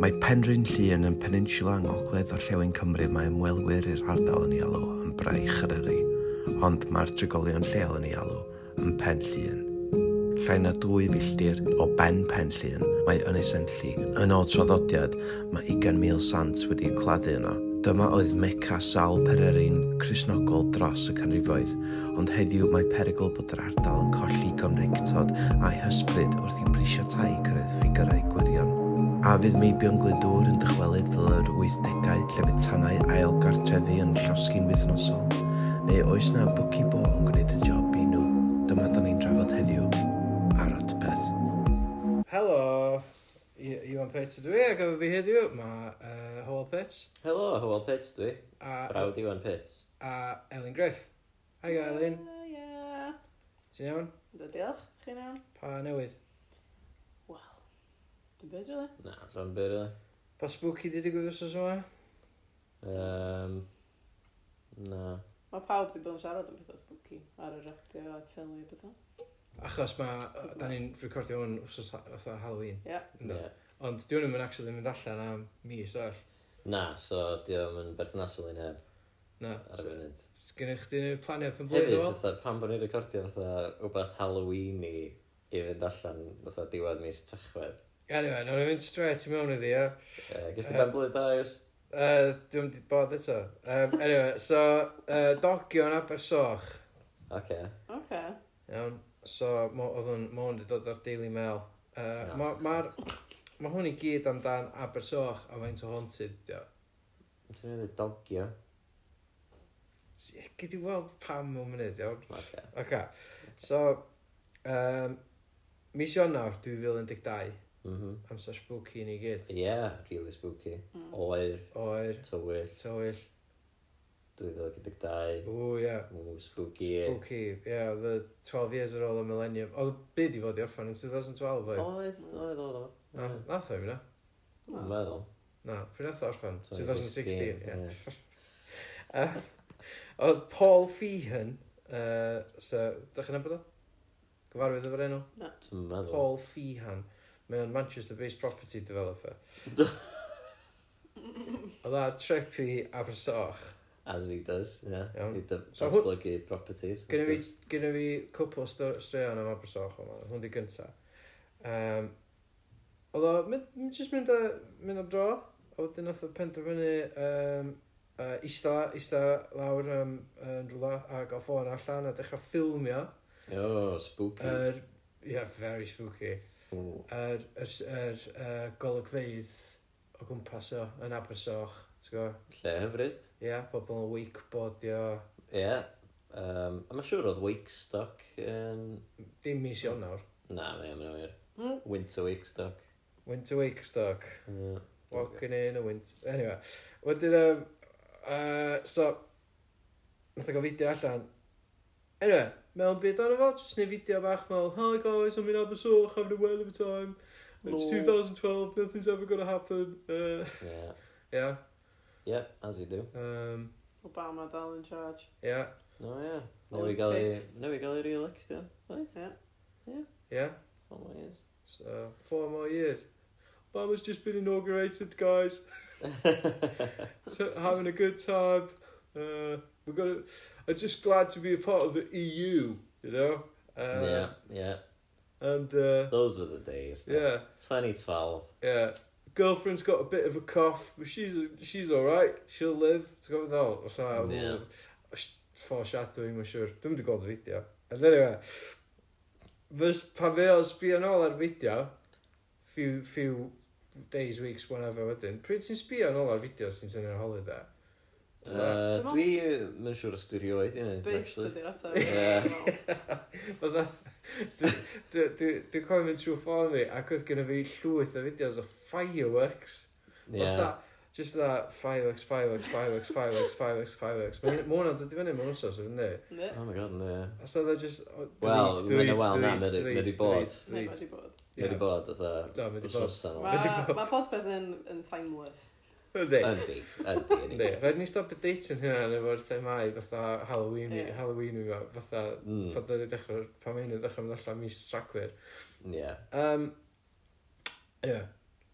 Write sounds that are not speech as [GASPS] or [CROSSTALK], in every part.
Mae Penrhyn Llŷn yn peninsula yng ngogledd orllewin Cymru mae ymwelwyr i'r ardal yn ei alw yn Braich Eryri, ond mae'r trigolion lleol yn ei alw yn Pen Llŷn. Llai na dwy filltir o Ben Pen Llŷn mae Ynys Enlli. Yn ôl traddodiad, mae 20,000 sant wedi claddu yno. Dyma oedd meca sawl pererin Cresnogol dros y canrifoedd, ond heddiw mae perygl bod yr ardal yn colli gymreictod a'i hysbryd wrth i brisio tai cyrraedd ffigurau gwirion. A fydd Meibion Glyndŵr yn dychwelyd fel yr 80au lle bydd tanau ail gartrefi yn llosgi'n wythnosol? Neu oes na bwci bo yn gwneud y job i nhw? Dyma da ni'n drafod heddiw ar Odpeth. Helo, I- Iwan Pets ydw i, ac efo fi heddiw, mae uh, Howell Pets Helo, Hywel Pits dwi. a, Brawd Iwan Pits. a Elin Griff. Hi ga Elin, Ia. ti'n iawn? Yndw, diolch, chi'n iawn? Pa newydd? Wel, dim byd rili. Na, rhan byr yna. Pa spooky di digwydd wrthos yma? Um, na. Mae pawb wedi bod yn siarad am pethau spooky ar y radio a telu a bethau. Achos mae, da ni'n recordio hwn wrthos ha- fatha Halloween. Ia. Ynddo? Ie. Ond di hwn ddim yn actually mynd allan am mis all. Na, so di o'm yn berthnasol i neb Na, ar y funud. sgynnych chdi neu planiau pen blwydd Hefyd, o? fatha, pan bod ni'n recordio fatha wbeth Halloween i i fynd allan fatha diwedd mis tachwedd. Anyway, nawr ni'n mynd straight i mewn iddi, ia. Uh, Yym. Gys di ben blwydd da, Iws? Uh, Dwi'n wedi bod eto. Um, anyway, so, uh, dogion Abersoch. Oce. Oce. Iawn, so ma- oedd hwn, ma' hwn wedi dod o'r Daily Mail. Uh, Na. Mae'r, ma, ma'r- ma' hwn i gyd amdan Abersoch a faint o haunted ydi o. Ti'n mynd i dogio? Gyd i weld pam mewn munud, iawn. Oce. Ok, so, um, mis Ionawr 2012, Mhm. amser spooky i ni gyd, Ie, really spooky. Mm. Oer, oer, tywyll, tywyll, 2012. o ia, Ww, spooky. spooky, ie, oedd y 12 years ar ôl y millennium. Oedd y byd i fod i orffan yn 2012 oedd? Oedd, oedd, oedd, Na, oedd. nath o fi na? Dwi'n meddwl. Na, pryd nath o orffan? 2016, ie. ie. Uh, Oedd Paul Feehan, uh, so, da chi'n abod o? Gyfarwydd efo'r enw? Dwi'n meddwl. Paul Feehan. Mae o'n Manchester-based property developer. Oedd ar trip i Abersoch. As he does, yeah. Iawn. He does So hw- datblygu properties. Gynna fi, gynna fi cwpl o sto- straeon am Abersoch yma, hwn di gynta. Um, oedd o, mynd, mynd- jyst mynd, a- mynd am dro, a wedyn nath o penderfynu um, uh, ista, ista lawr um, yn rhywle a gael ffôn allan a dechrau ffilmio Oh, spooky. Yr, yeah, very spooky. Ww. Yr, yr, yr uh, golygfeidd o gwmpas o, yn Abersoch, ti'n gwybod? Lle hyfryd. Ie, yeah, pobl yn wakeboardio, Ie. Um, a mae'n siŵr oedd Wakestock yn... dim mis Ionawr. Na, mae am yn wir. Hmm? Mm. Winter Wakestock. Winter Wakestock, Ie. walking in a winter... Anyway, wedyn, um, uh, so, nath o gael fideo allan. Anyway, mewn byd arno fo, jyst neu fideo bach fel, Hi guys, I'm in Abersoch, having a well of a time. It's Lol. 2012, nothing's ever gonna happen. Uh, Ie. yeah, Ie, as you do. um, Obama dal yn charge. yeah, No, ie. Newydd Newi gael ei... fix. Newi gael ei re-electio. Oedd? Ie. yeah. Oh my years. So, four more years. Obama's just been inaugurated, guys. so, having a good time. Uh, we're gonna. I'm just glad to be a part of the EU, you know. Uh, Ie, ie. And uh, Those were the days. though. yeah, 2012. yeah. Girlfriend's got a bit of a cough, but she's she's all right. She'll live. To go with all. So, Yeah. Foreshadowing, mae'n siŵr. Dwi'n mynd i gweld y fideo. And anyway, fys pan fe o'n sbio nôl ar fideo, few, few days, weeks, whenever wedyn, pryd ti'n sbio nôl ar fideo sy'n sy'n yr holiday? Uh, Dwi'n meddwl- dwi yn siŵr os dwi rioed i wneud, Byth actually. ydy'r Ie. ateb. Fydda, dwi'n cofio mynd trwy ffôn mi, ac oedd gen i fi llwyth o fideos o fireworks. Ie. Fatha, Just that fireworks, fireworks, fireworks, fireworks, fireworks, fireworks. Mae hwnna'n dod i fyny mewn wrsos, ynddi? Ne, Oh my god, ne. A so they're just... oh, Wel, delete, ma' nhw- delete, wel, na, delete, mae 'di- mae 'di delete, bod. delete, ne, delete. wedi bod. Mae wedi Ie. bod, fatha... Do, mae 'di bod. bod. Wedi bod. Mae podpeth yn, yn timeless. Yndi. Yndi, yndi, Yndi, yndi. rhaid ni stop y dating hynna efo'r themau fatha Halloween, Ie. Halloween yma, fatha Mm, pan dyn ni'n dechrau, Mm, pan mae'n dechrau mynd allan mis Rhagfyr. Ie. Um, anyway,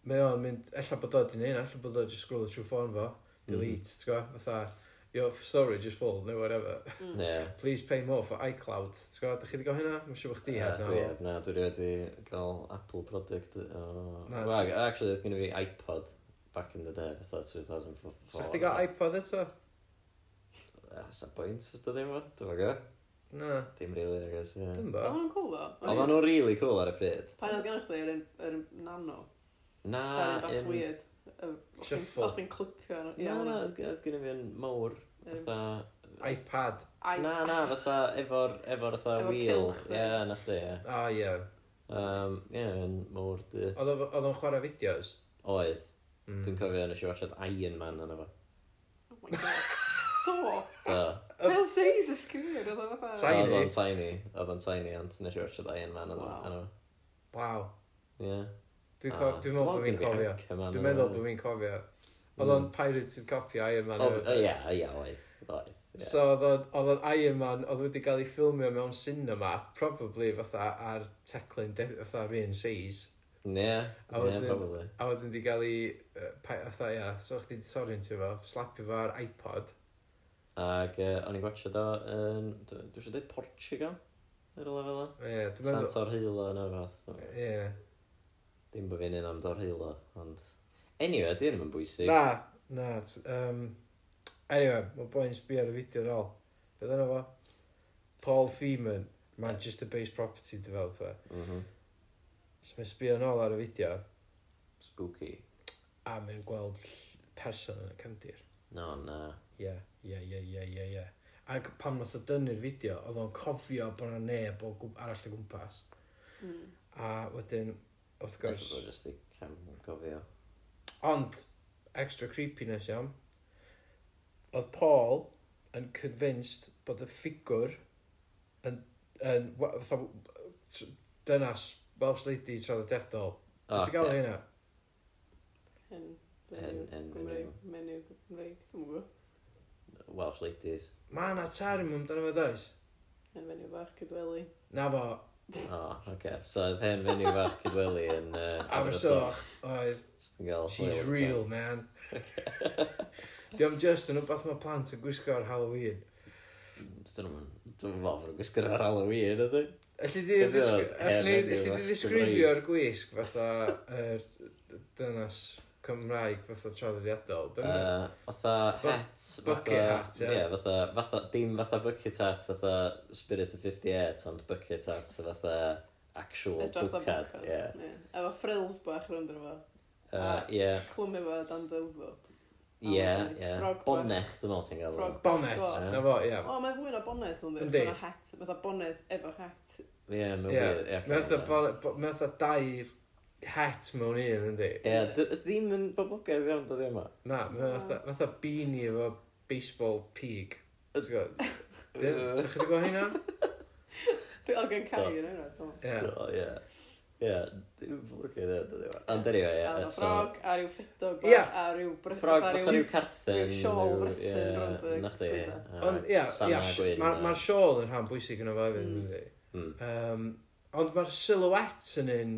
mae o'n mynd, ella bod o wedi neud, ella bod o wedi scroll trwy ffôn fo, Hmm. delete, mm. ti'n gwybod, fatha, your storage is full, neu whatever. Ie. Please pay more for iCloud, ti'n gwybod, dach chi wedi gael hynna? Mae'n siŵr bod chdi Ie, heb Dwi na. heb, na, dwi wedi cael Apple product o... Na, Wel, ti- actually, oedd gen i fi iPod back in the day, fatha 2004. So chdi gael iPod eto? Ie, sa bwynt, os dwi ddim o, dwi'n gwybod. Na, Dim rili, I guess, ie. dim Oedd bo. hwnna'n cool fo? Oedd nhw'n really cool ar y pryd. Pan oedd gennych chi yr un- yr un nano? Na, Ta'r un bach un- weird. Y- o'ch chi'n- Shuffle. O'ch chi'n clipio arno- ie, Na, na, hwnna. oedd oedd gen i fi yn mawr, Yr un- fatha... iPad. Ai- Na, na, fatha, efo'r, efo'r fatha Efo wheel. cylch, Ie, ie. na chdi, ie. Ah, ie. Um, Ie, yn mawr dy. Oedd o- oedd o'n chwarae fideos? Oedd. Mm. Dwi'n cofio nes i watchad Iron Man yna fo. Oh my god. [LAUGHS] Do. [GASPS] Do. Fel seis y sgrin, oedd o'n Sai- fatha... Tiny. Oedd o'n tiny. Oedd o'n tiny, ond nes i watchad Iron Man yna Wow. yna fo. Waw. Ie. Dwi'n Ah. co- dwi'n meddwl bod fi'n cofio. Dwi'n meddwl bod fi'n cofio. Oedd o'n pirated copy Iron Man. hefyd. Hmm. Ie, ie, oedd. Oedd. ie. So oedd o'n- oedd o'n Iron Man, oedd wedi cael ei ffilmio mewn cinema, probably fatha ar teclyn de- fatha rhan seis. Ie, A ie, wedyn- probably. A oedd wedi cael ei, yy, pai- fatha ia, so o'ch ti'n torri'n ti fo, slapio fo ar iPod. Ac yy, o'n i'n gwachio do yn... Dwi eisiau dweud Portugal? Yr ola fel o. Ie, dwi'n meddwl... Trant o'r heilo yna fath. Ie. Dim bod fi'n un am do'r heilo, ond... Anyway, di yn bwysig. Na, na. t- Um, anyway, mae boi'n sbio ar y fideo yn ôl. Beth yna fo? Paul Feeman, Manchester-based property developer. Mhm. So mae'n sbio yn ôl ar y fideo Spooky. a mae'n gweld ll- person yn y cymdir. No, na. Ie, ie, ie, ie, ie, ie. Ac pan nath o dynnu'r fideo, oedd o'n cofio bod yna neb o gwb- arall o gwmpas. Mm. A wedyn, wrth Gwrs. gwrs, Gwrs. Gwrs. Gwrs. Ond, extra creepiness iawn, oedd Paul yn convinced bod y ffigwr yn, yn wa- fatha, t- dynas Welsh lady traddodiadol. Oh, Ti'n gael hynna? Hen... Hen- hen Menu Gymreig. Menu Gymreig. Dwi'n gwybod. Welsh ladies. Mae yna term amdano fe does. Hen menu bach cydweli. Na fo, O, Oh, oce. So, oedd hen fenyw fach cydweli yn... Uh, Abersoch, oedd, Just yn gael... she's hwyl real, man. [LAUGHS] Diolch just yn wbeth mae plant yn gwisgo ar Halloween. ta. Dyn nhw'n... Dyn nhw'n fawr yn gwsgo'r ar Halloween, ydy? Alli di Ydw, ddisg- oedd alli hen alli di heddiw, ddisgrifio'r gwisg fatha yr dynas Cymraeg fatha traddodiadol? Be ma- Uh, fatha Bu- het. bucket fatha- hat, ie. Ie, fatha, fatha, dim fatha bucket hat, fatha Spirit of 58, ond bucket hat, fatha actual Edrych dda bwcad. bwcad. Ie. Ie. Efo frills bach rwy'n dro fo. Uh, Ie, Clwm efo dan dylfo. ie, A wedyn ie. ffrog bach. Bonnet, dim ond ti'n gael. Ffrog. Bonnet, Go. na fo, ia. O, mae fwy na bonnet ond Yndi. dwi. Mae'n hat. Mae'n bonnet efo hat. Ie, mae'n Ie, wir. Ie, Mae fatha ie. bo- bo- mae fatha dau het mewn un, yndi? Ie, d- ddim yn boblogaidd iawn, dod i yma. Na, mae fatha- fatha beanie efo baseball pig. Ti'n gwybod? Ydych chi wedi gweld hynna? Dwi'n ogen cair yn enwraig. so. Ie. Do, Ie. Ie, dim boblogaidd iawn, dod i yma. Ond anyway, A ie. efo so- ffrog, a ryw ffedog Ie. bach, a ryw bryth. Ffrog, a ryw- fatha rhyw carthen. ryw shawl ryw- frithyn ie, rownd y na chdi, swyddfa. a Ond ia, ia, sana gwyn, a- mae'r siôl yn rhan bwysig yna fo hefyd, Mm. yndi? Mm. Um, ond mae'r silhouette yn un...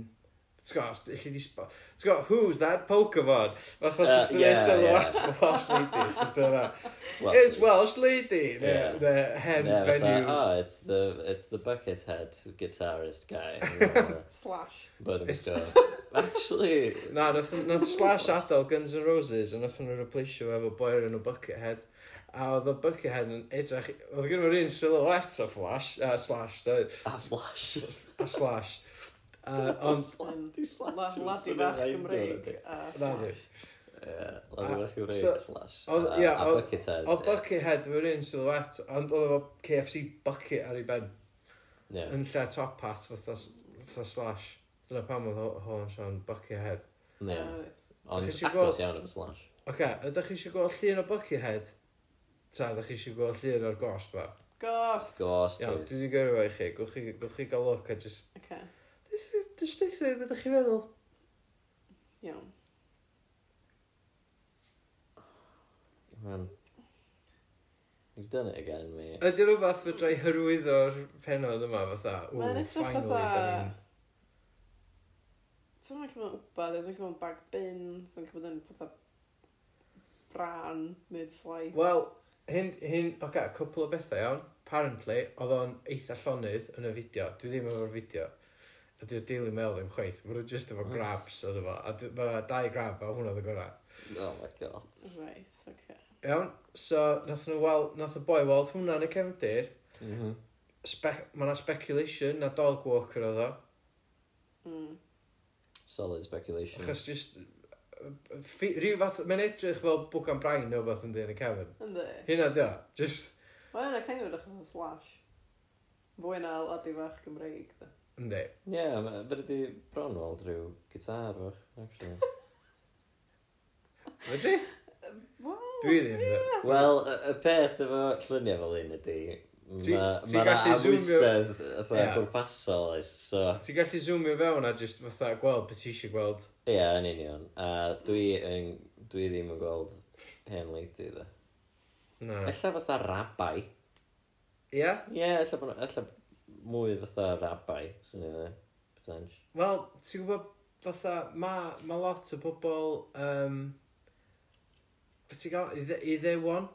T'w gwybod, illi di sbo... T'w gwybod, who's that Pokemon? Fatha Uh, uh, sy'n yeah, yeah, silhouette yeah. o [LAUGHS] Welsh lady, sy'n dweud Wel, It's Welsh lady! Yeah. Yeah. Ne, hen Yeah, yeah, fatha, fenyw. oh, it's the, it's the Buckethead guitarist [LAUGHS] guy. uh, Slash. But It's- it's... [LAUGHS] Actually, Na, nath, nath Slash adael Guns N' Roses a nath nhw'n replaceio efo boi o'r enw Buckethead a oedd o Buckethead yn edrych oedd gen i'r un silhouette o Flash a Slash da, a Flash. a Slash uh, [LAUGHS] ond Yn Ladi Slash. la- Ladi fach Gymreig. a na slash. di Ie, Ladi A- Fach Gymreig, Ah, so- oh, Slash. A oedd- ie, a oedd- Buckethead. Oedd ie. Buckethead efo'r un silhouette, ond oedd efo KFC bucket ar ei ben, Ie. yn lle top hat fatha, s- fatha slash. Dyna pam oedd ho- ho yn siarad Buckethead. Ie. Ah, reit. Ond Dach chi isio agos iawn efo Slash. Oce, ydych chi eisiau gweld llun o Buckethead? Ta, ydych chi eisiau gweld llun o'r gos ba? Ghost. Ghost, Iawn, dwi please. wedi gyrru fo i chi, gwch chi, gwch chi gael look a just... Okay. Just deitha i beth ydych chi feddwl. Iawn. Man. You've done it again, mate. Ydy rhywbeth fydra i hyrwyddo'r penod yma fatha, Mae'n ww, edrych finally, fatha- da ni'n... Sa'n rhaid bod yn wbad, sa'n rhaid bod yn bag bin, sa'n rhaid bod yn fatha bran mid-flight. Wel, hyn, hyn, oce, okay, cwpl o bethau iawn. Apparently, oedd o'n eitha llonydd yn y fideo. Dwi ddim efo'r fideo. A dwi'n Daily Mail ddim chwaith. Mae nhw jyst efo Mm. grabs oedd efo. A dwi- mae 'na dau grab a hwnna oedd y gorau. Oh my god. Right, oce. Iawn, so nath nhw weld, nath y boi weld hwnna yn y cefndir. Mhm. Spe- mae yna speculation na dog walker oedd o. Mm. Solid speculation. Achos jyst... ffi- Rhyw fath, mae'n edrych fel bwcan brain neu beth yn dyn y cefn. Yndi. Hynna dio, just, Mae yna kind of edrych yn slash. Fwy na ladi fach Gymreig, da. yndi. Ie, yeah, fe ydi bron ôl drwy gitar fach, actually. [LAUGHS] Fedri? Wel, Dwi ddim. de. Wel, y y peth efo lluniau fel un ydi, Ti- ma- ti ma' na gallu zoomio- amwysedd fatha Ie. gwrpasol, oes, so... Ti'n gallu zoomio fewn a just fatha gweld beth ti eisiau gweld. Ie, yn union. A dwi, yn, dwi ddim yn gweld hen lady, dda. Na. Ella fatha rabai. Ia? Ie, yeah, ella, bod- ella mwy fatha rabai, sy'n ei dda. Potential. Wel, ti'n gwybod, fatha, ma, ma lot o bobl, um, beth ti'n gael, i dde- i ddewon,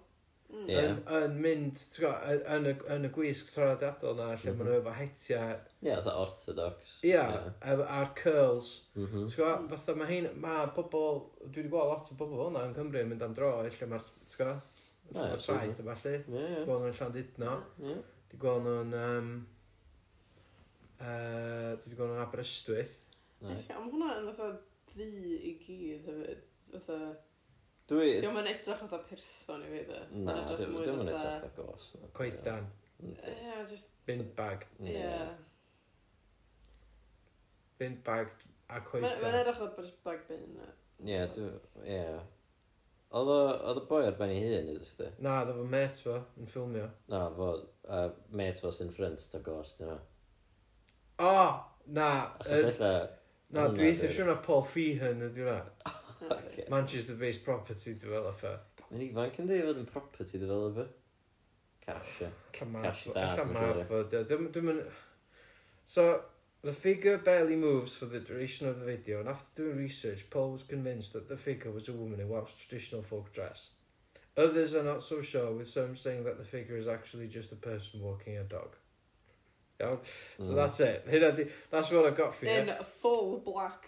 Mm. Ie. yn, yn mynd, ti'n gwybod, yn- yn, y- yn y gwisg traddodiadol na, lle Mhm. maen nhw efo hetia, Ie, yeah, fatha orthodox. ia, ef- a'r curls, Mhm. ti'n gwybod, fatha, ma hyn, ma bobl, dwi wedi gweld lot o bobl fel yna yn Cymru yn mynd am dro, lle ma'r, ti'n gwybod, Na, ma'r absolutely. saith yma lle, Ie, ie. gweld nhw'n Llandudno, Ie. Di gweld nhw'n... Um, uh, dwi wedi gweld nhw'n Aberystwyth. Nice. Ella, am hwnna yn fatha ddi i gyd hefyd. Fatha, Dwi... diolch yn edrych fatha person i fi, da. Na, dim dim yn edrych fatha gos. na. Coedan. Yndi. Ie, just, Bindbag. ie. Ie. Bindbag a Mae'n mae'n coedan. edrych fatha bod bag bin, na. Ie, dwi... Ie. Oedd o- oedd y boi ar ben ei hun, ydych chdi? Na, dda fo met fo yn ffilmio. Na, fo... A met fo sy'n ffrind ta gos, dyna. O! Oh, na. Achos Uh, ella... na, hwnna dwi eitha ydi- siwr na Paul Feehan ydi hwnna. [LAUGHS] Ocê. Manchester-based property developer. Mae'n ifanc yn dweud fod yn property developer. Cash, ie. Alla mab Cash fo. dad, Alla dwi'n mab siŵr, fo. Dwi'n mynd... So, the figure barely moves for the duration of the video and after doing research, Paul was convinced that the figure was a woman in Welsh traditional folk dress. Others are not so sure, with some saying that the figure is actually just a person walking a dog. Iawn? So Mm. that's it. Hynna di- That's what I've got for you. In [LAUGHS] full black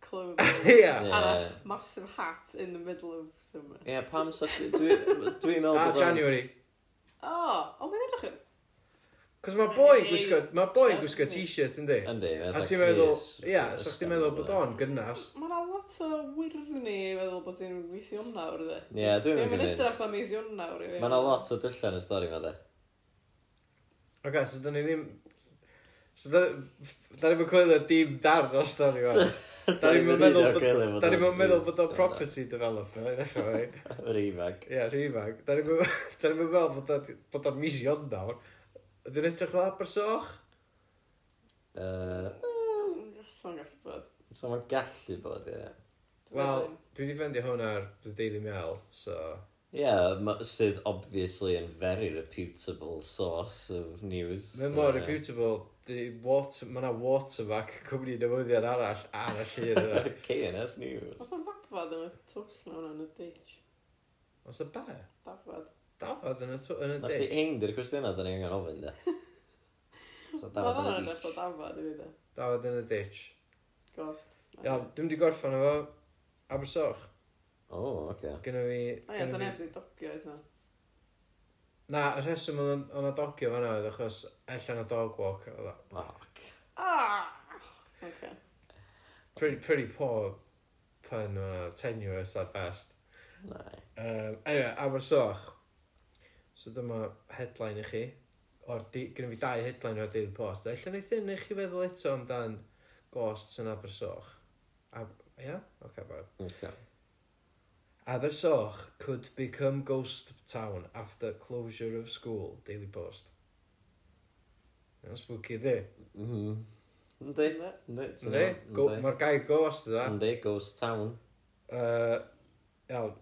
clothing. Yeah. Ie. And a massive hat in the middle of summer. Ie, pam sa... chdi- Dwi... Dwi'n meddwl A bod... o'n- January. Oh, o, mae'n edrych yn... Cos mae boi'n Hey. gwisgo, mae boi'n gwisgo January. t-shirt yndi? Yndi, A fatha ti'n meddwl, Chris, ia, so chdi'n meddwl bod ysgafn, o'n gynnas. Mae yna lot o wyrddni i feddwl bod hi'n mis Ionawr, dde. Ie, dwi'n mynd Dwi'n mynd convinced. edrych am mis Ionawr i fi. Mae yna lot o dylla yn y [LAUGHS] stori ma, de. Ok, so dyn ni ddim... So dyn dyn ni'n coelio dim darn o stori fan. Da ni'n meddwl bod- Dyn ni'n meddwl bod o'n property developer, i ddechrau fe. Yr ifanc. Ie, rhywbag. Dyn ni'n [LAUGHS] meddwl bod o- bod o'n mis Ionawr. Ydy'n edrych fel Abersoch? Yy, Sa'n gallu bod. So mae'n gallu bod, ie. Dwi'n Wel, meddwl. dwi wedi ffendio hwn ar The Daily Mail, so... Ie, ma- sydd obviously yn very reputable source of news. Mae'n mor reputable, di water, mae yna waterback [LAUGHS] cwmni newyddion arall ar y llun yna. [LAUGHS] KNS News. Os o'n dafad yn y twll na hwnna yn y ditch. Os y be? Dafad. Dafod yn y tw- yn y Na chdi ditch. ein di'r cwestiynau da ni angen ofyn, de. So Mae dafod hwnna'n yn y edrych o ditch. dafad i fi, dde. Dafod yn y ditch. Gost. Ia, dwi'n di gorffan efo Abersoch. O, oce. Gynna fi... O ie, gynna fi- sa'n neb wedi dogio eto. Na, y rheswm oedd o'n- o'n adogio fan'na oedd achos allan o dog walk. oedd o. O, Ah! Oce. Pretty, pretty poor pun fan'na, tenuous at best. na. Um, anyway, Abersoch. So dyma headline i chi. O'r di... Gynna fi dau headline o'r Daily Post. Alla wneud hyn i chi feddwl eto amdan ghosts yn Abersoch. Ab... Ia? Oce, okay, Oce. Abersoch could become ghost town after closure of school, Daily Post. Mae'n spooky, di. Mhm. Yndi. Yndi. Yndi. ti'n Ynddi? iawn, Go- yndi. Mm. Mae'r gair ghost yna. Yndi, Ghost Town. Yy, Iawn,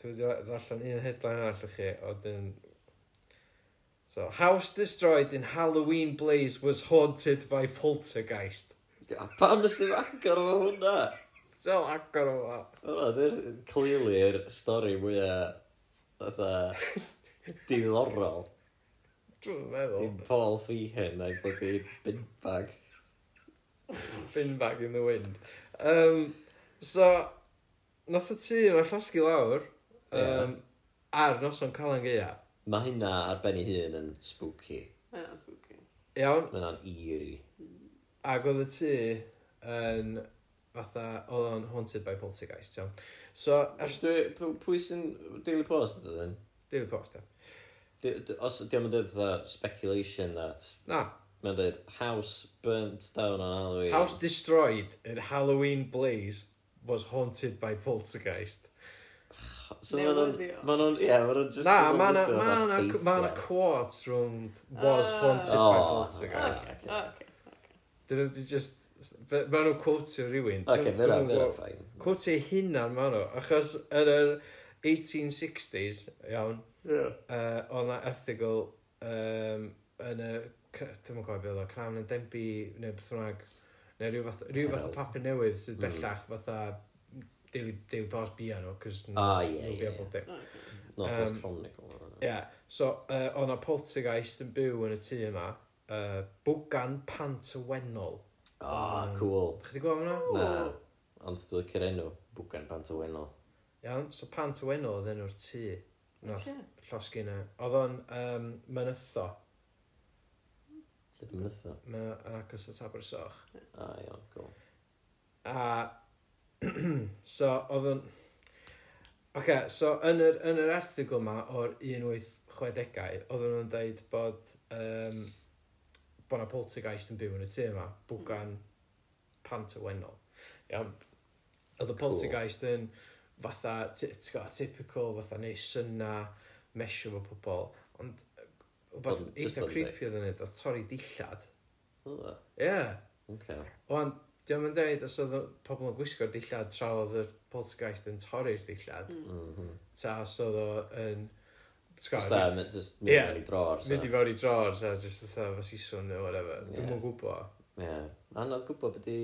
dwi wedi ddarllen un headline arall i chi, a wedyn... So, house destroyed in Halloween blaze was haunted by poltergeist. A pam nes ddim agor efo hwnna? So agor o fa. Hwnna, dy'r clearly yr stori mwyaf, [LAUGHS] fatha, diddorol. Dwi'n meddwl. Dim Paul Feehan a'i blygu bintbag. Bin bag in the wind. Um, so, nath y tŷ yma llosgi lawr um, ar noson Calan Gaea. Mae hynna ar ben ei hun yn spooky. Mae hynna'n spooky. Iawn, Mae hynna'n eerie. ac oedd y tŷ yn fatha, oedd o'n haunted by poltergeist, iawn. So, ers Dwi- pw- Pwy sy'n Daily Post ydy dyn? dydd post, iawn. Os diolch yn dweud fatha speculation that Na, Mae'n dweud house burnt down on Halloween. house destroyed in Halloween blaze was haunted by poltergeist. So ma' nhw'n- Newyddion. ma' nhw'n... Ie, ma' nhw'n just... Na, ma' ma' na, nhw'n ma' na, fatha ma' na ffeithiau. quotes rhwng was Ah. haunted by Oh, poltergeist. Okay, okay. okay. Dyn nhw wedi just... Mae nhw'n quotio rhywun. Oce, fe na, fe na ffain. Quotio hunan mae nhw. Achos yn yr 1860s, iawn, uh, oedd na erthigol um, yn y... Dwi'n gwybod beth oedd o, Cram yn Denby neu beth rhag. Neu rhyw fath, rhyw fath o Herald. papur newydd sydd Mm. bellach fatha Daily, Daily Post bia nhw. Cos Ah, ie, ie, ie. Bob dim. okay. North West Um, Chronicle. Ie, yeah. so uh, o'na poltergeist yn byw yn y tŷ yma, uh, bwgan pant y wennol. Ah, um, cool. Chdi gwybod hwnna? Na, ond dwi'n cael enw bwgan pant o wenol. Iawn, so pant y wennol oedd enw'r tŷ. Nath Ocê. llosgi yna. Oedd o'n um, mynytho, Lle dwi'n mynd ma- yn agos at Abersoch. Ah, iawn, cool. A [CLEARS THROAT] so oedd o'n... Oce, okay, so yn yr, yn yr erthigol yma o'r 1860au, oedden nhw'n dweud bod, um, bod na poltergeist yn byw yn y tŷ yma, bwgan pant y wennol. Iawn. Oedd y poltergeist yn fatha, ti- ti'n gwbod, typical, fatha neu syna, mesio fo pobl, ond yy, wbath Oedd- jyst eitha oedd yn creepy oedd yn neud, oedd torri dillad. Oce. Ie. Yeah. Okay. Wan, diolch yn dweud, os oedd y pobl yn gwisgo'r dillad tra oedd y poltergeist yn torri'r dillad, Mhm. ta os oedd o yn... ti'n Just gwbod, that, ma- just Ie. mynd mewn i dror. so. Mynd i fewn i dror, ta, jyst oedd o siswn neu whatever. Ie. Dwi'n mwyn gwybod. Ie. Anodd gwybod beth i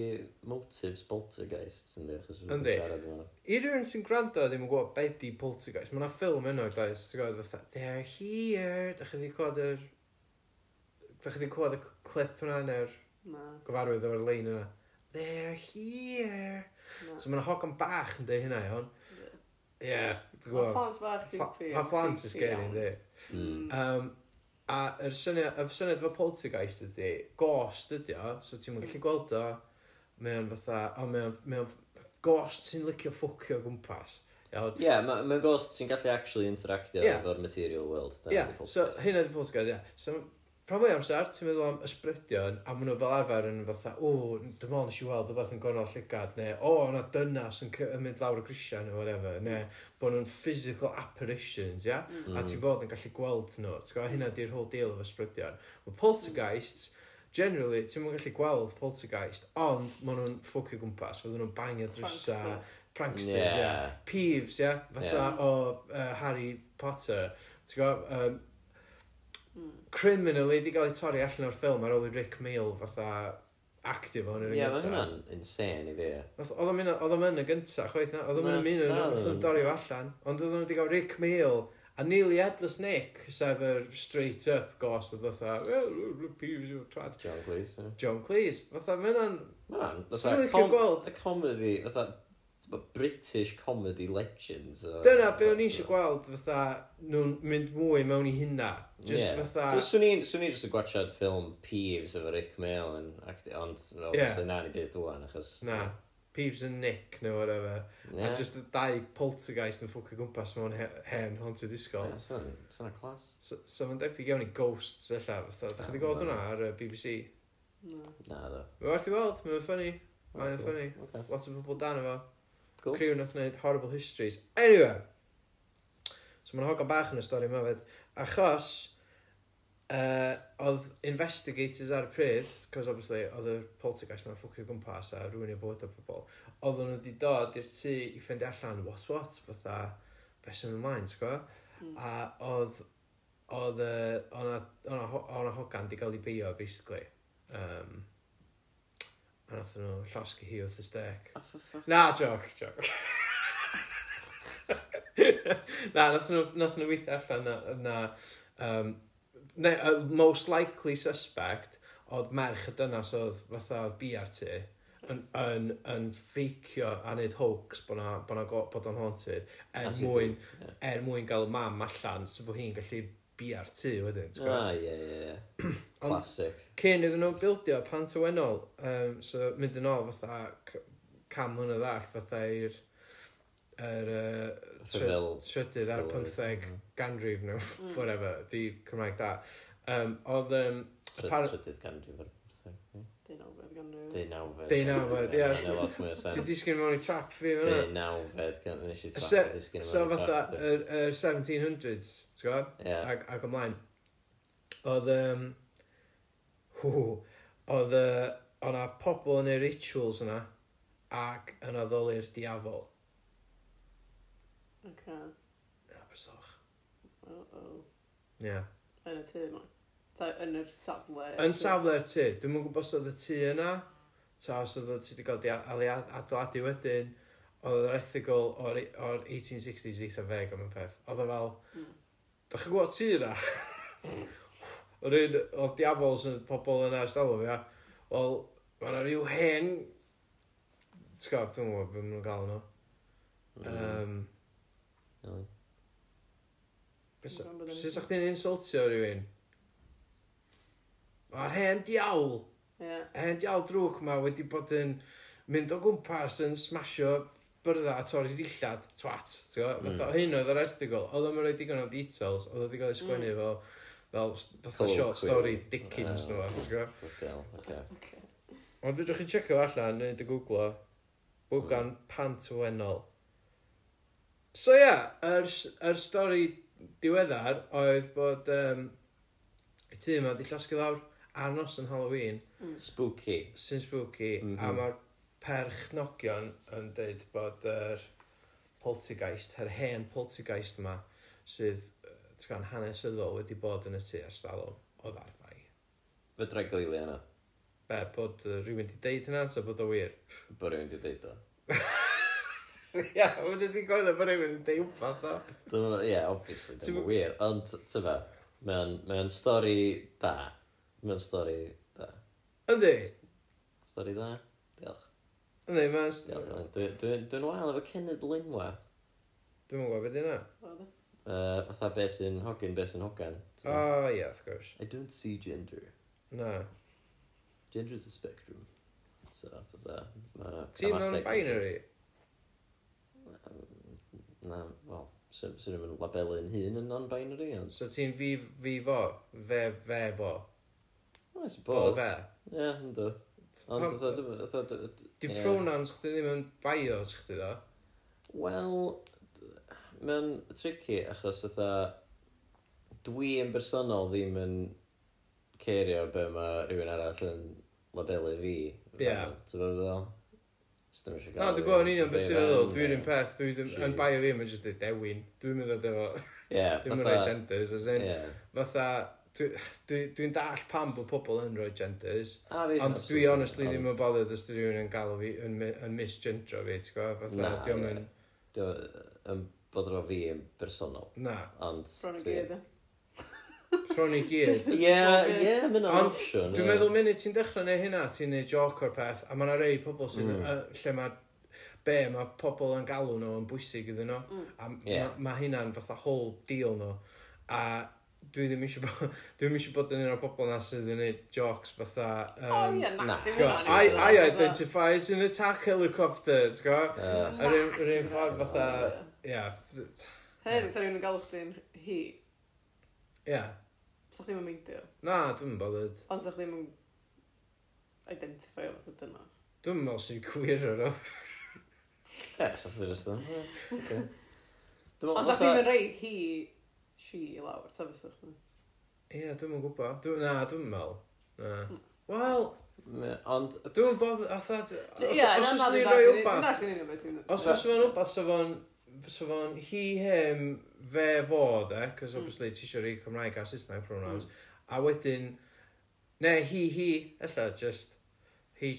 motives poltergeists yndi, achos dwi'n Yndi. siarad yma. I rhywun sy'n gwrando ddim yn gwybod beth di poltergeist, mae yna ffilm yno, guys, ti'n gwybod, fatha, they're here, da chi wedi clywed yr... Da chi wedi clywed y clip yna neu'r Na, gyfarwydd o'r lein yna. They're here. na. So mae yna hogan bach yn dweud hynna, iawn. Ie. Ie, yeah, dwi'n Mae gwybod. plant bach creepy. Mae plant yn scary, ynddi. Mm. Um, a yr syniad, y syniad fo poltergeist ydy, ghost ydy o, so ti'n gallu gweld o, mae o'n fatha, o mae o'n, mae o'n ghost sy'n licio ffwcio o gwmpas. Iawn. Ie, ma- mae'n ghost sy'n gallu actually interactio Ie. efo'r material world. Ie, so hyn ydy poltergeist, ie. So, rhan fwy o amser, ti'n meddwl am ysbrydion, a maen nhw fel arfer yn fatha, o, dim ond nes i weld rhywbeth yn gornol llygad, neu, o, yna dynas yn cy- yn mynd lawr y grisia, neu whatever, neu, bod nhw'n physical apparitions, ia? a ti fod yn gallu gweld nhw. Ti'n gwybod, hynna di'r whole deal efo sbrydion. Mae poltergeists, generally, ti'n mwyn gallu gweld poltergeist, ond maen nhw'n ffwcio gwmpas, fydden nhw'n bangio drysa, pranksters, ie. Yeah. Peeves, ie, fatha Ie. o uh, Harry Potter. Ti'n gwybod, um, criminally, di gael ei torri allan o'r ffilm ar ôl i Rick Mail fatha active o'n yr Ie, un mae gynta. hwnna'n insane i fi. Nath- Oedd o'n mynd- oedd o'n mynd yn gynta, chwaith na, oedd o'n mynd yn Na, mynd yn na, nath o'n oedd o'n- dorri o allan, ond oedd o'n wedi cael Rick Mail a Neil Edless Nick, sef yr straight up ghost oedd fatha, well, peeves you twat. John Cleese. ie. John Cleese, fatha mynd yn, Mae hwnna'n... Swn i'n fatha licio com- gweld- fatha comedy, fatha... t'bo, British comedy legends. o- dyna be o'n i so- eisiau gweld fatha nhw'n mynd mwy mewn i hynna, just Ie. fatha, Swn i'n swn i'n just yn gwachad ffilm Peeves efo Rick Mail yn acti... Ond, no, Ie. yeah. na ni beth o'n achos... na, Peeves and Nick neu whatever, Ie. a just y dau poltergeist yn ffwcio gwmpas mewn he- hen haunted Ie, isgol. Swn swn i'n clas. So, so mae'n debyg iawn i ghosts ella, fatha, da chi wedi gweld hwnna ar y BBC? Na, do. Mae werth i weld, mae'n ffynnu. Mae'n Cool. ffynnu. Oce. Lot o bobl dan efo. Cool. Crew nath wneud Horrible Histories. Anyway. So mae'n hogan bach yn y stori yma fed. Achos, uh, oedd investigators ar y pryd, cos obviously oedd y poltergeist mae'n ffwcio gwmpas a rwy'n i bod o pobl, oedden nhw wedi dod i'r tŷ i ffendi allan, what, what, fatha, beth sy'n ymlaen, ti'n gwybod? A oedd, oedd, yy, o'na, o'na, ho- o'na hogan di gael ei beio, basically. Um, A nath nhw llosgi hi wrth y stec. Oh, A for fuck. Na, joc, joc. [LAUGHS] na, nath nhw, nath nhw weithio allan na, na um, ne, y most likely suspect oedd merch y dynas oedd fatha oedd BRT yn, yn, yn ffeicio a neud hoax bod na, bod na go- bod o'n haunted er As you do, mwyn, ie. er mwyn gael mam allan so bod hi'n gallu BRT wedyn. ti'n gwbod? Ah, ie, [CLEARS THROAT] ie, ie. Classic. Cyn iddyn nhw bildio pan tywennol, um, so mynd yn ôl fatha c- cam hwn o ddall, fatha i'r yr uh, Rhyfel- trydydd ar rhyfeloedd, pymtheg mm. ganrif nhw, Mm. whatever, di Cymraeg da. Um, oedd um, Try- Apparent- Hmm? Trydydd ganrif ar bymtheg. ie. Dyn nhw beth ganrif. Deunawfed. Deunawfed, ie. Mae'n neud lot mwy [LAUGHS] o ti sens. disgyn mewn i trap fi fyna. Deunawfed, gan- nes i Y trafod se- disgyn i So mewn i fatha, trafod. yr yr 1700s, ti'n gwybod? Ie, ag, ag ymlaen oedd um, hw, oedd uh, o'na pobl yn ei rituals yna ac yn addoli'r diafol Oce. yn Abersoch Uh-oh. yeah. Yn y tu ma. Ta yn yr safle. yn safle'r tŷ dwi'm yn gwybod os oedd y tŷ yna ta os oedd o- ti wedi cael di aliad- adeiladu wedyn oedd yr erthigol o'r, or 1860s eitha feg am y peth oedd o fel Mm. dach chi'n gwybod tŷ yna [LAUGHS] o'r un oedd diafols yn pobl yna ystalwm ia wel mae yna rhyw hen tgab dwi'n gwybod beth nhw'n galw nhw Mm. um, Really? Dwi'n gwbod bod yn- sut sa'ch chi'n insultio rhywun mae'r hen diawl Ie. Hen dial drwg ma wedi bod yn mynd o gwmpas yn smasho byrddau a torri dillad, twat, ti'n gwbod? Mm. Fatha hyn oedd yr erthigol, oedd o'n rhoi digon o details, oedd wedi cael ei sgwennu fel, Hmm. fel s- fatha Colloquial. short story Dickens Ah. nhw, ti'n gwbod? Bloody hell, ocê. Oce. Ond dwi'n chi'n checio fo allan, neu dy googlo, bwgan pant wennol. So ia, yr, s- yr stori diweddar oedd bod um, y tŷ yma wedi llosgu lawr ar nos yn Halloween, Spooky. sy'n spooky Mhm. a mae'r perchnogion yn dweud bod yr poltergeist, yr hen poltergeist yma sydd yy, ti'n gan hanesyddol wedi bod yn y tu ers dalwm o ddarfau. Fydra i goelio yna. Be, bod yy, rhywun wedi deud hynna, ta bod o wir? Bo rhywun wedi deud o. Ia, mae wedi gweud bod rhywun wedi deud wbath o. Dwi'n meddwl, ie, obviously, Ti'n ddim m- yn wir. Ond, ti'n fe, mae'n mae stori da. Mae'n stori da. Yndi, Stori da? Diolch. yndi, mae'n... Diolch. Elin. Dwi- dwi- Dwi'n wael efo Cened Lynwa. Dwi'n mwyn gwybod beth yna. Wel, de. Uh, fatha be sy'n hogyn, be sy'n hogan. ti'n O, fe? ia, of course. I don't see gender. Na. Gender is a spectrum. So, fatha, ma- Ti'n gramadeg yn non-binary? shit. Na, wel, sy'n sy mynd labelu'n hun yn non-binary, ond... So ti'n fi, fi fo? Fe, fe fo? Well, I Fo suppose. fe? Ie, ynddo. Ond, Pam- fatha, dwi'n- fatha, dwi- Di Ie. pronouns chdi ddim yn bios chdi do? Wel, mae'n tricky achos ytha, dwi yn bersonol ddim yn cerio be mae rhywun arall yn labelu fi. Ie. Ti'n bod fel? Na, Na, dwi'n gwybod yn union beth ti'n meddwl, dwi'n un peth, dwi ddim, yn bio fi, mae'n jyst y dewin, dwi'n mynd o defo, Ie, dwi'n mynd rhoi genders, as in, Ie. fatha, dwi- dwi- dwi'n dall pam bod pobl yn rhoi genders, A fi- ond dwi absolutely, honestly ddim ond yn bothered os dwi rhywun yn galw fi, yn, mi- yn misgendro fi, ti'n gwybod, fatha, Na, diom ie. yn, dwi- Yn bodro fi yn bersonol, na, ond... Bron i dwi- gyd, e. de. [LAUGHS] tron i [LAUGHS] gyd. Ie, ie, mae'n Ond opsiwn. Dwi'n ie. meddwl munud ti'n dechrau neu hynna, ti'n neud joc o'r peth, a mae yna rei pobl sydd, Mm. yy, lle mae, be, mae pobl yn galw nhw yn bwysig iddyn nhw, Mm. a Ie. yeah. mae ma hynna'n fatha whole deal nhw a dwi ddim eisiau bod [LAUGHS] dwi ddim eisiau bod yn un o'r bobl na sydd yn gwneud jocs fatha O ie, na, na, dim ti'n gwbod, hwnna'n I, I- iawn. I identify as an attack helicopter ti'n gwybod Yy, yr un- yr un ffordd fatha ia Hefyd, sa rhywun yn galw chdi'n hi, ia sa chdi'n meindio. na dwi'n bothered Ond sa chdi'n identifio fath o dynas. dwi'n meddwl sy'n gwir o'r o Ie, sa'ch ddim ystod. Ond Ond sa chdi'n rei hi, she i lawr, ta fysa chdi. ia dwi'n yn gwybod dwi, na dwi'n meddwl na wel Ond dwi'n bothered atha os Ie, os na, oes na, ni'n dwi'n rhoi dallt- dwi'n wbath dallt yn union beth ti'n- Os fysa fo'n wbath, sa fo'n fysa fo'n hi, him, fe, fo, de, Mm. cos obviously ti eisiau rhoi Cymraeg a Saesneg pronouns, a wedyn, ne, hi, hi, ella, just, He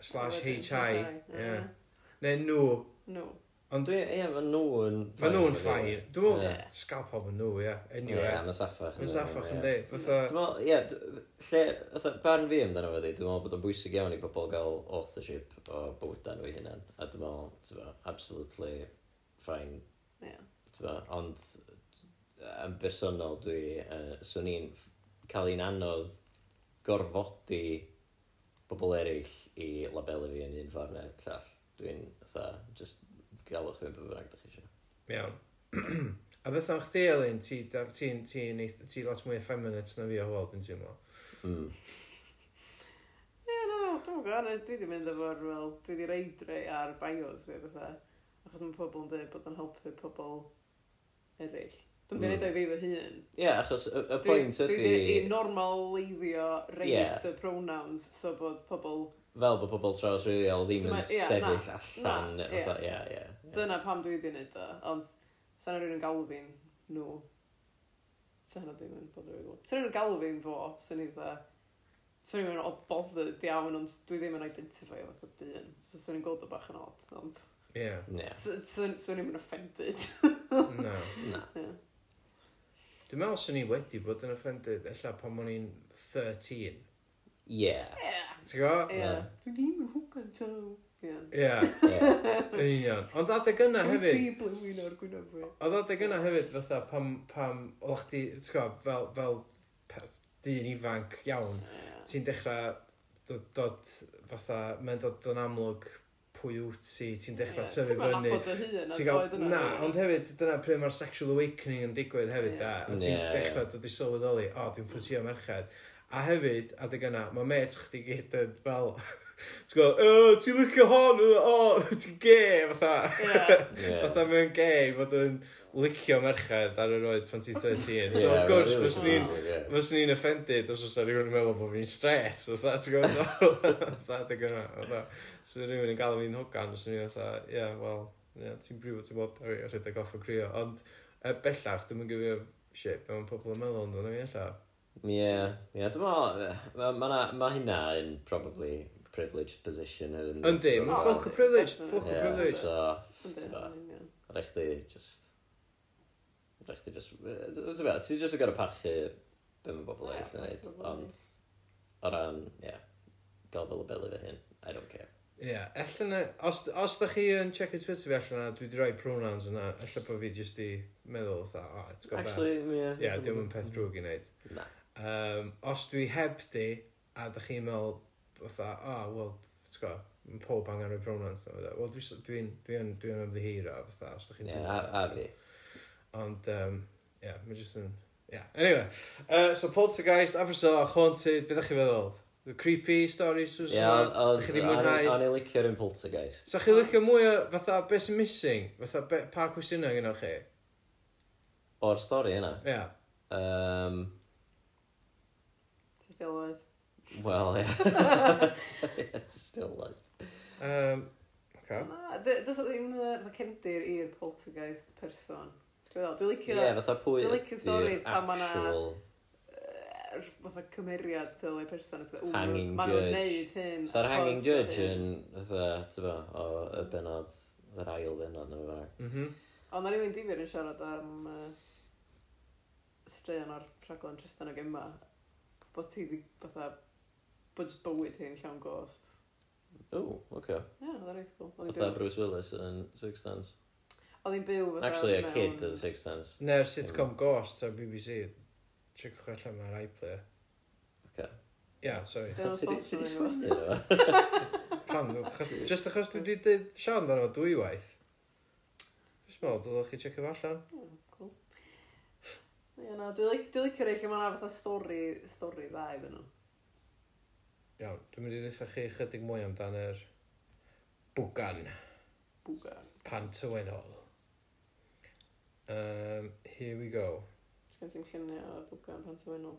slash Wedyn, hi. H-I, Ie. ie. Neu nhw. No. Ond Dwi, ie, mae nhw yn... Fa nhw'n ffain. Dwi'n meddwl, Ie. sgal pob yn nhw, ie. Ie, Anyway. mae saffach. Mae'n saffach yn ie. di. Fytha, Dwi'n meddwl, ie, d- lle, fatha, barn fi amdano fo di, dwi'n meddwl bod o'n bwysig iawn i bobl gael authorship o bywydau nhw eu hunan. A dwi'n meddwl, ti'n meddwl, absolutely fine, Ie. ti'n meddwl, ond yy, yn bersonol dwi, uh, swn i'n ff- cael un anodd gorfodi bobl eraill i labelu fi yn un ffordd neu'r llall. Dwi'n, fatha, just galwch fi'n byfyrag da chi eisiau. iawn. [CLEARS THROAT] A beth am chdi, Elin, ti- da- ti'n ti, ti, ti lot mwy effeminate na fi o hwel, dwi'n teimlo. Hmm. Mm. Ie, no, dwi'n gwybod, dwi wedi mynd efo'r, wel, dwi wedi reidre ar bios fi, fatha. Achos mae pobl yn dweud bod yn helpu pobl eraill. Dwi'n Mm. mm. dweud fi fy hun. Ie, achos y, y Dwi- pwynt Dwi wedi ydi, normaleiddio Ie. reid the pronouns, so bod pobl... fel bod pobl trawsrhywiol ddim yn Sma- ie, na, sefyll na, allan, ie. fatha, ie, ie. ie. Dyna pam dwi wedi gwneud o, ond sa'n rhywun yn galw fi'n nhw. Sa'n rhywun ddim yn bothered o gwbl. Sa'n rhywun yn galw fi'n fo, sa'n rhywun dda... Sa'n rhywun o bothered iawn, ond dwi ddim yn identifio fath o dyn. So sa'n rhywun gweld o bach yn od, ond... Ie. Ie. Sa'n rhywun yn [LAUGHS] offended. Na. Na. Dwi'n meddwl swn i wedi bod yn offended, ella pan o'n i'n 13. Ie. Ti'n gwybod? Ie. Ie. Dwi ddim yn hwgan taw. Ie. Ie, [LAUGHS] Ie. yn union. Ond adeg yna Dwi'n hefyd, tri blywyn o'r gwynebwy. oedd adeg yna hefyd fatha pam, pam, o'ch di, ti'n gwybod, fel, fel pe- dyn ifanc iawn, ti'n dechrau dod, dod fatha, mae'n dod yn amlwg pwy wyt ti, ti'n dechrau tyfu fyny. Ti'n gael, na, ond hefyd, dyna pryd mae'r sexual awakening yn digwydd hefyd, Ie. da. A Ie, ti'n ie. dechrau dod i sylweddoli, o, dwi'n ffwrsio merched. A hefyd, adeg yna, mae met chdi gyd yn fel, [LAUGHS] ti'n gweld, o, ti'n lycio hon, o, [LAUGHS] ti'n gay, fatha. Ie. [LAUGHS] Fatha mae'n gay fod yn licio merched ar yr oed pan ti'n 13. So, Ie, of course, really fyswn ni'n bwysig, ie. Fyswn ni'n offended os oes rhywun yn meddwl bod fi'n straight, so fatha, ti'n gwybod? Fatha, dy gynna, fatha, os oes rhywun yn galw fi'n hogan, os ni'n fatha, ie, yeah, wel, yeah, ti'n brifo ti'n bod ar ei rhedeg off o crio, ond e, bellach, dwi'n gyfio shit, be mae'n pobl yn meddwl ond o'n i ella. Ie. Ie, dwi'n meddwl, ma- ma' na- ma' hynna yn probably privileged position hefyd. yndi? Yndi, Ti'n mae gwbod? ffwc o privilege, definitely. ffwc o Ie, privilege. so, Yndi, ti'n gwbod, yn union. rhaid chdi just... Rhaid chdi just... yy, Ti'n gwbod, ti just yn gorau parchu be mae bobl Ie, eraill yn neud, probably. ond o ran, ie, gael fel y belu fy hyn, I don't care. Ie, ella na, os, os da chi yn check it Twitter fi allan na, dwi wedi rhoi pronouns yna, ella bod fi jyst i meddwl, fatha, o, it's got bad. Actually, ie. Ie, diolch yn peth drwg i wneud. Na. um, os dwi heb di a dych chi'n meddwl fatha a oh, wel ti'n gwbo, mae pob angen rhoi pronouns na fydda wel dwi- dwi'n dwi'n dwi'n ymddihiro fatha os dych chi'n Ie, teimlo a a fatha. fi. ond um, yeah mae jyst yn yeah anyway uh, so Poltergeist Abersoch Haunted beth dych chi'n feddwl The creepy stories Ie, ond- Susan ond dych chi di o'n i- mwynhau o'n i'n licio'r un poltergeist. Sa chi licio mwy o fatha beth sy'n missing fatha be, pa cwestiynau gyda chi O'r stori yna. ia yeah. Um, Tystiolaeth. Wel, ie. [LAUGHS] Ie, still life. um, okay. Na, dy- does o ddim yy, fatha cefndir i'r poltergeist person. Ti'n gwbod, Dwi'n Ie, licio fatha pwy Dwi'n licio ydi'r stories pan ma' 'na- actual- yy, fatha cymeriad to y person fatha, ww, Hanging ma' judge. nhw'n neud hyn. Sa'r achos hanging judge hyn. yn, fatha, ti'n fo, o y benod, yr ail benod, neu fe. mhm Ond na rywun difyr yn siarad am uh, straeon o'r rhaglen Tristan ag Emma bod ti di fatha bod jyst bywyd hi'n llawn gost. O, oce. Ie, yeah, oedd o'n reit cool. Oedd hi'n Fatha byw- Bruce Willis yn Six Sense. Oedd hi'n byw fatha... Actually, a mewn- kid yn Six Sense. Neu'r sitcom Ghost ar BBC. Checkwch allan mae'r iPlayer. Ocê. Ia, sorry. [LAUGHS] Dyna'n Ti di- ti di sponsor ni, sgwennu fo? Pan, achos- just achos dwi wedi dweud Sian dan o dwy waith. Dwi'n meddwl, dylech chi checio fo allan. Ie, Hmm, cool. Ie, na, dwi'n lic- dwi'n licio rei lle mae'na fatha stori, stori dda iddyn nhw. Iawn, dwi'n mynd i ddweud chi chydig mwy amdan yr bwgan Bwga. Pantywennol. Um, here we go. Sgan ti'n lluniau o bwga yn pant o enw.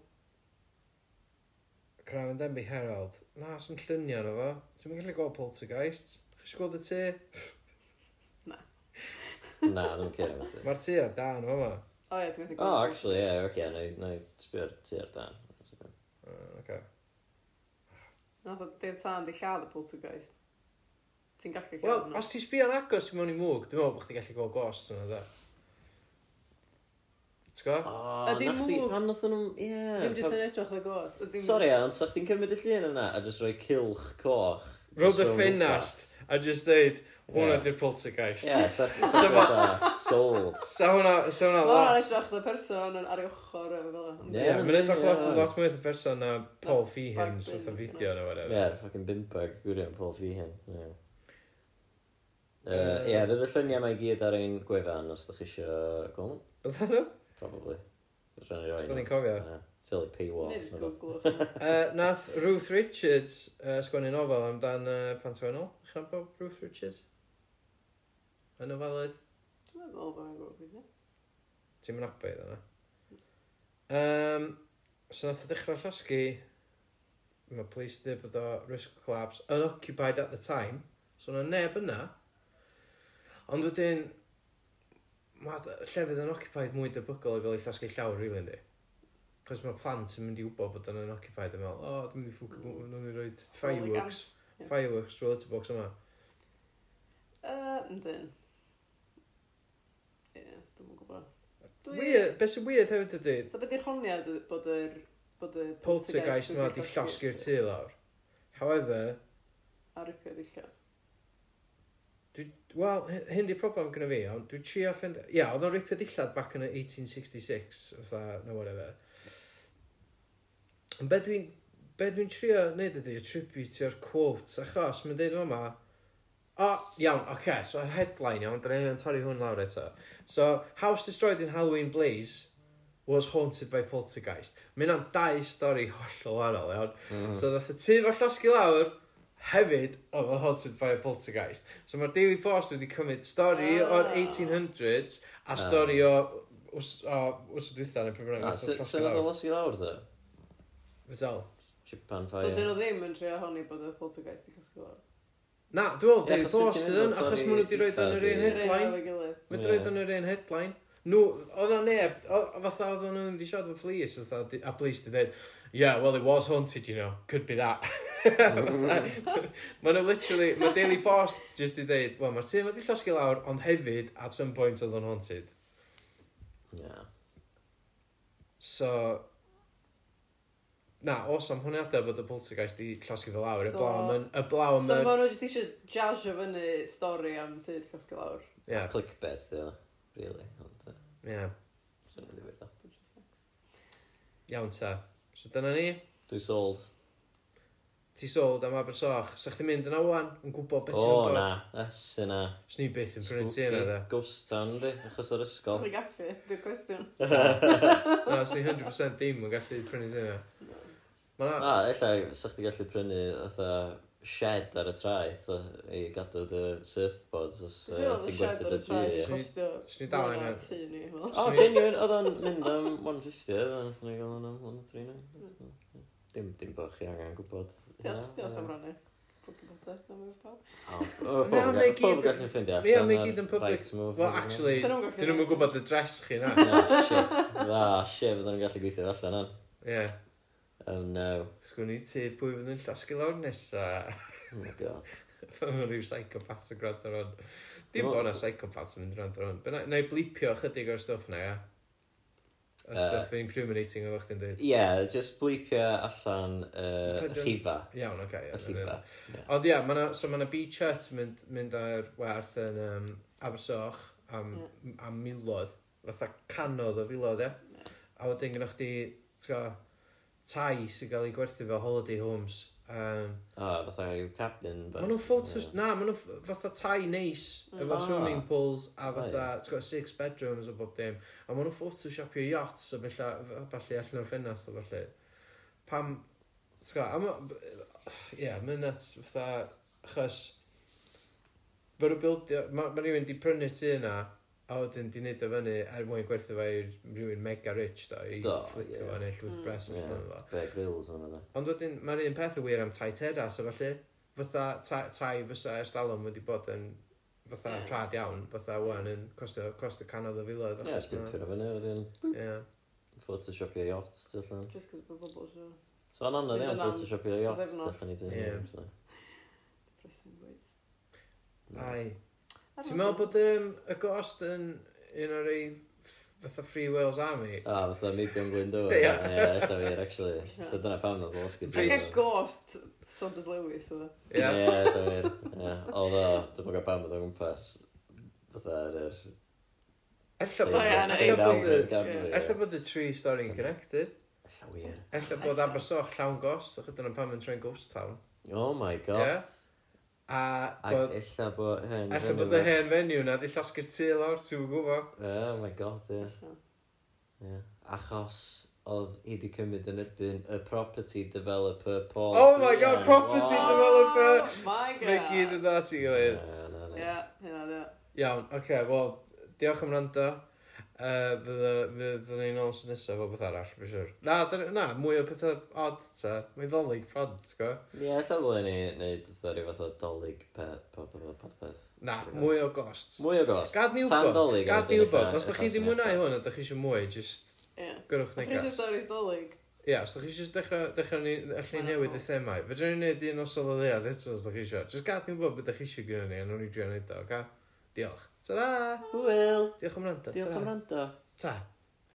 Craven Denby Herald. Na, sy'n llunio arno fo. Ti'n mynd gallu gweld poltergeists. Chi eisiau gweld y tu? [LAUGHS] Na, dwi'n care am ti. Mae'r tu ar dan o fa. O ie, ti'n gallu O, Oh, actually, ie, oce, na i sbio'r tu ar dan. Uh, okay. Nath o dir tân di lladd y poltergeist. Ti'n gallu lladd Wel, nhw. os ti sbio'n agos i mewn i mwg, dwi'n meddwl bod chdi gallu gweld ghosts yna, dda. T'w Oh, go? Ydi mwg? Pan oedd nhw'n... Oh, Ddim Ie. jyst yn edrych na gos. pan- Sori, ond sa'ch ti'n cymryd y llun yna a jyst rhoi cilch coch. Roedd y jyst rownd ffinast a just dweud, hwnna Ie. di'r gwmpas. poltergeist. [LAUGHS] Ie, sa'ch ti'n sold. Sa hwnna, sa hwnna Wel, yn lot. edrych na person yn ar ei ochr o fel yna. Ie, Ie, mae'n edrych ie. lot lot mwy o person na Paul Feehan, Bag bin, sort o you fideo neu [LAUGHS] Ie, whatever. yeah, ffucking bimbag, gwirion, Paul Feehan. Ie, yeah. uh, yeah, fydd y lluniau mae gyd ar ein gwefan os ydych chi isio gweld nhw, Oedd hwnnw? probably. Fedra ni roi Os da ni'n nhw. cofio. Ie, Tilly paywall. Nid neu rwbath. gwglwch. [LAUGHS] Yy, Uh, Nath Ruth Richards uh, sgwennu nofel amdan uh, Pantwenol. Chi'n bod Ruth Richards? Y nofelyd? Dwi'n meddwl bod yn gwglwch. Ti'n mynd abai yna. Um, so nath o dechrau llosgu, mae police dweud bod o risk collapse, unoccupied at the time, so na neb yna. Ond wedyn, mae d- llefydd unoccupied mwy debygol o gael ei llosgu llawr rili yndi. Cos mae plant yn mynd i wybod bod o'n unoccupied yn meddwl, o, dwi'n mynd i ffwc, dwi'n mynd i roi fireworks, Ie. fireworks drwy litter box yma. Yy, yndyn. Ie, dwi'n yn gwybod. Dwi- Weird, beth sy'n weird hefyd ydy, So beth i'r honiad y- bod yr... bod y poltergeist yma di wedi llosgu'r tu lawr. However, A ripio ddillad. Wel, hy- hyn di problem gyda fi, ond dwi'n trio ffend... Ia, yeah, oedd o'n ripio dillad back yn y 1866, fatha, no whatever. Ond be dwi'n be dwi'n trio neud ydy attributio'r quotes, achos mae'n deud yma, o, iawn, oce, okay, so yr headline iawn, dyn ni'n torri hwn lawr eto. So, house destroyed in Halloween blaze was haunted by poltergeist. Mae'n am dau stori [LAUGHS] hollol wahanol, iawn. Mm. So, ddath y tu fo llosgu lawr, hefyd oedd o'n haunted by a poltergeist. So mae'r Daily Post wedi cymryd stori Ah. o'r 1800s a stori o wrs o wrs y dwytha neu pryd bynnag. A, nath o Ah, llosgu sy- Sut oedd lawr. o losgi lawr, dda? Fetel. Chipan So dyn ffair. nhw ddim yn trio honni bod y poltergeist i cysgu lawr. Na, dwi'n meddwl Ie, Daily achos sut ti'n Post ydyn, meddwl, sori, achos maen nhw wedi rhoi dillad yn yr i- un Yr un headline. efo'i gilydd. Mae'n Ie. yeah. rhaid yn yr un headline. Nhw, oedd na neb, o- fatha oedd nhw'n mynd i siarad efo police, fatha, di- a police di dweud, yeah, well, it was haunted, you know, could be that. [LAUGHS] Mae nhw literally, mae Daily Post just i dweud, well, mae'r tîm wedi llosgu lawr, ond hefyd, at some point, oedd o'n haunted. Ie. So, na, os am hwniadau bod y poltergeist di llosgu fel lawr, y So- blaw yn, y blaw So yn, maen nhw jyst eisiau jasio fyny stori am tyd cysgu lawr. yeah, Clickbait, dda. Really, ond... yy, yeah, sy'n rili weird, dda. Which is next. iawn ta. So dyna ni. Dwi sold. ti sold am Abersoch, sa chdi'n mynd yna wan, yn gwybod beth ti'n O, bod. na. Es yna. Sni byth yn prynu ti Spooky yna da. Ghost town, di. Achos o'r ysgol. Sorry gallu, dwi'n cwestiwn. Na, sni 100% ddim yn gallu prynu ti yna. Ma na, A, ella, sa chdi gallu prynu fatha shed ar y traeth o- i gadw dy surfboards os yy, Dwi'n siŵr oedd y ti'n shed gwerthu dy ar y tŷ. traed ie. Swn i- costio swn i dal mwy na angen. tŷ ni, wel. O, Swn i- genuine, oedd o'n mynd am 150, oedd o'n ddyn ni gael hwn am 139. Dim, dim bod chi angen gwybod. Diolch, diolch am rannu. Pwy gwybodaeth am efo'r pawb. Na, mae Pob gyd yn- gallu'n ffeindio allan. Ie, mae ar gyd yn public. Bite Move, well neu [LAUGHS] actually, Dyn nhw'm yn gallu dyn nhw'm yn neud. gwybod y dress chi na. rywbeth. Na, shit. Na, shit, fydden nhw'n gallu gweithio fo allan, an. Ie, Oh, no. sgwn i ti pwy fydd yn llosgu lawr nesa. [LAUGHS] Oh, my God. Fy mae rhyw psychopath yn gwrando ar hwn. Dim bod Dwi'n meddwl- na psychopath yn mynd gwrando ar hwn. Be' na- Na i blipio chydig o'r stwff na, ia. Y Yy. stwff incriminating oedd chdi'n dweud. Ie, just bleepio allan yy, Pediwn- rhifa. Iawn, oce. Y Okay, Rhifa. Ond ia, ma na, so mae yna beach hut yn mynd, mynd ar werth yn um, Abersoch am, am milodd, fatha canodd o filodd, ia? Ie. A wedyn gynnwch chi, ti'n go, tai sy'n cael ei gwerthu fel holiday homes. Um, O, fatha rhyw cabin. maen nhw'n photos, na, maen nhw'n fatha tai neis, efo Ah. swimming pools a O, fatha, ti'n go, six bedrooms o bob dim. A maen nhw'n photoshopio yachts a bella, falle allan o'r ffenast o falle. Pam, ti'n go, a ma, [SIGHS] ie, mae'n nuts, fatha, achos, mae'r bildio, mae ma rhywun di prynu tu yna, a wedyn di wneud o fyny er mwyn gwerthu fe i rhywun mega rich, da, i Do, fflicio ie. fo neu llwyth Mm. bres Ie. yeah. fo. Bear Grylls o'n yna. Ond wedyn, mae'r un peth yn wir am tai teras, a falle, fatha, tai, tai fysa ers dalwm wedi bod yn, fatha, Ie. yeah. rhad iawn, fatha, wan, yn costio, costio canodd o filoedd. Ie, achos sbipio'r o fyny, wedyn ma'- Ie. photoshopio yacht tu allan. Just cos bod bobl sy'n... So yn anodd Fydd iawn yn am- photoshopio yacht bythefnos. allan i dyn Ie. nhw. Depressing ways. Ai. Ti'n meddwl bod um, y gost yn un o'r ei fatha Free Wales Army? A, fatha maybe am gwyn dŵr. [LAUGHS] Ie. Ie, eitha fi, [LAUGHS] actually. So dyna pam nad o'n osgyd. Ac e ghost Saunders Lewis oedd Ie, e. Ie. eitha fi. Although, dwi'n gwybod pam oedd o'n gwmpas. Fatha ar yr... Ella O, ie, bod- na, ella bod y- eighteen. ella bod y tree story'n connected. Ella wir. Ella bod Ella. Abersoch llawn gost, achos dyna pam yn tren Ghost Town. Oh my Ie? god. A Ac bod... ella bod hyn... Ella bod y hen fenyw na di llosgu'r tu lawr, ti'n gwybod? Oh my god, ie. Ella. Ie. Achos oedd hi wedi cymryd yn erbyn y property developer Paul. Oh my Fearn. god, property [LAUGHS] Wow. developer! Oh my god. Mae gyd yn dod at i gilydd. Na, na, na. Ie, hynna, ie. Iawn, oce, okay, wel, diolch am rando. Uh, Fyddwn ni'n ôl sy'n nesaf o beth arall, bydd siwr. Na, dyn- na, mwy o pethau odd, ta. Mae'n ddolig prod, ti'n gwybod? Ie, ella ddylen ni wneud fatha rhyw fath o dolyg pet, popeth. Na, mwy o gosts. Mwy o gost. Gad ni Tan wybod, dolyg. gad wedyn ni wybod. ella- Os da ella chi di syniad. mwynhau hwn, a da chi eisiau mwy, just Ie. gyrwch Os rwy'n negas. stori'n dolyg. Ia, os da chi eisiau dechrau, dechrau ni, allu Wel, newid y wel. themau. Fe drwy'n neud un os oedd o leiad eto os da chi eisiau. Just gad ni wybod beth da chi eisiau gyda ni, a nhw'n i drio'n neud o, oce? Diolch. Ta-ra! Hwyl. Diolch am rando. Diolch am rando. Ta.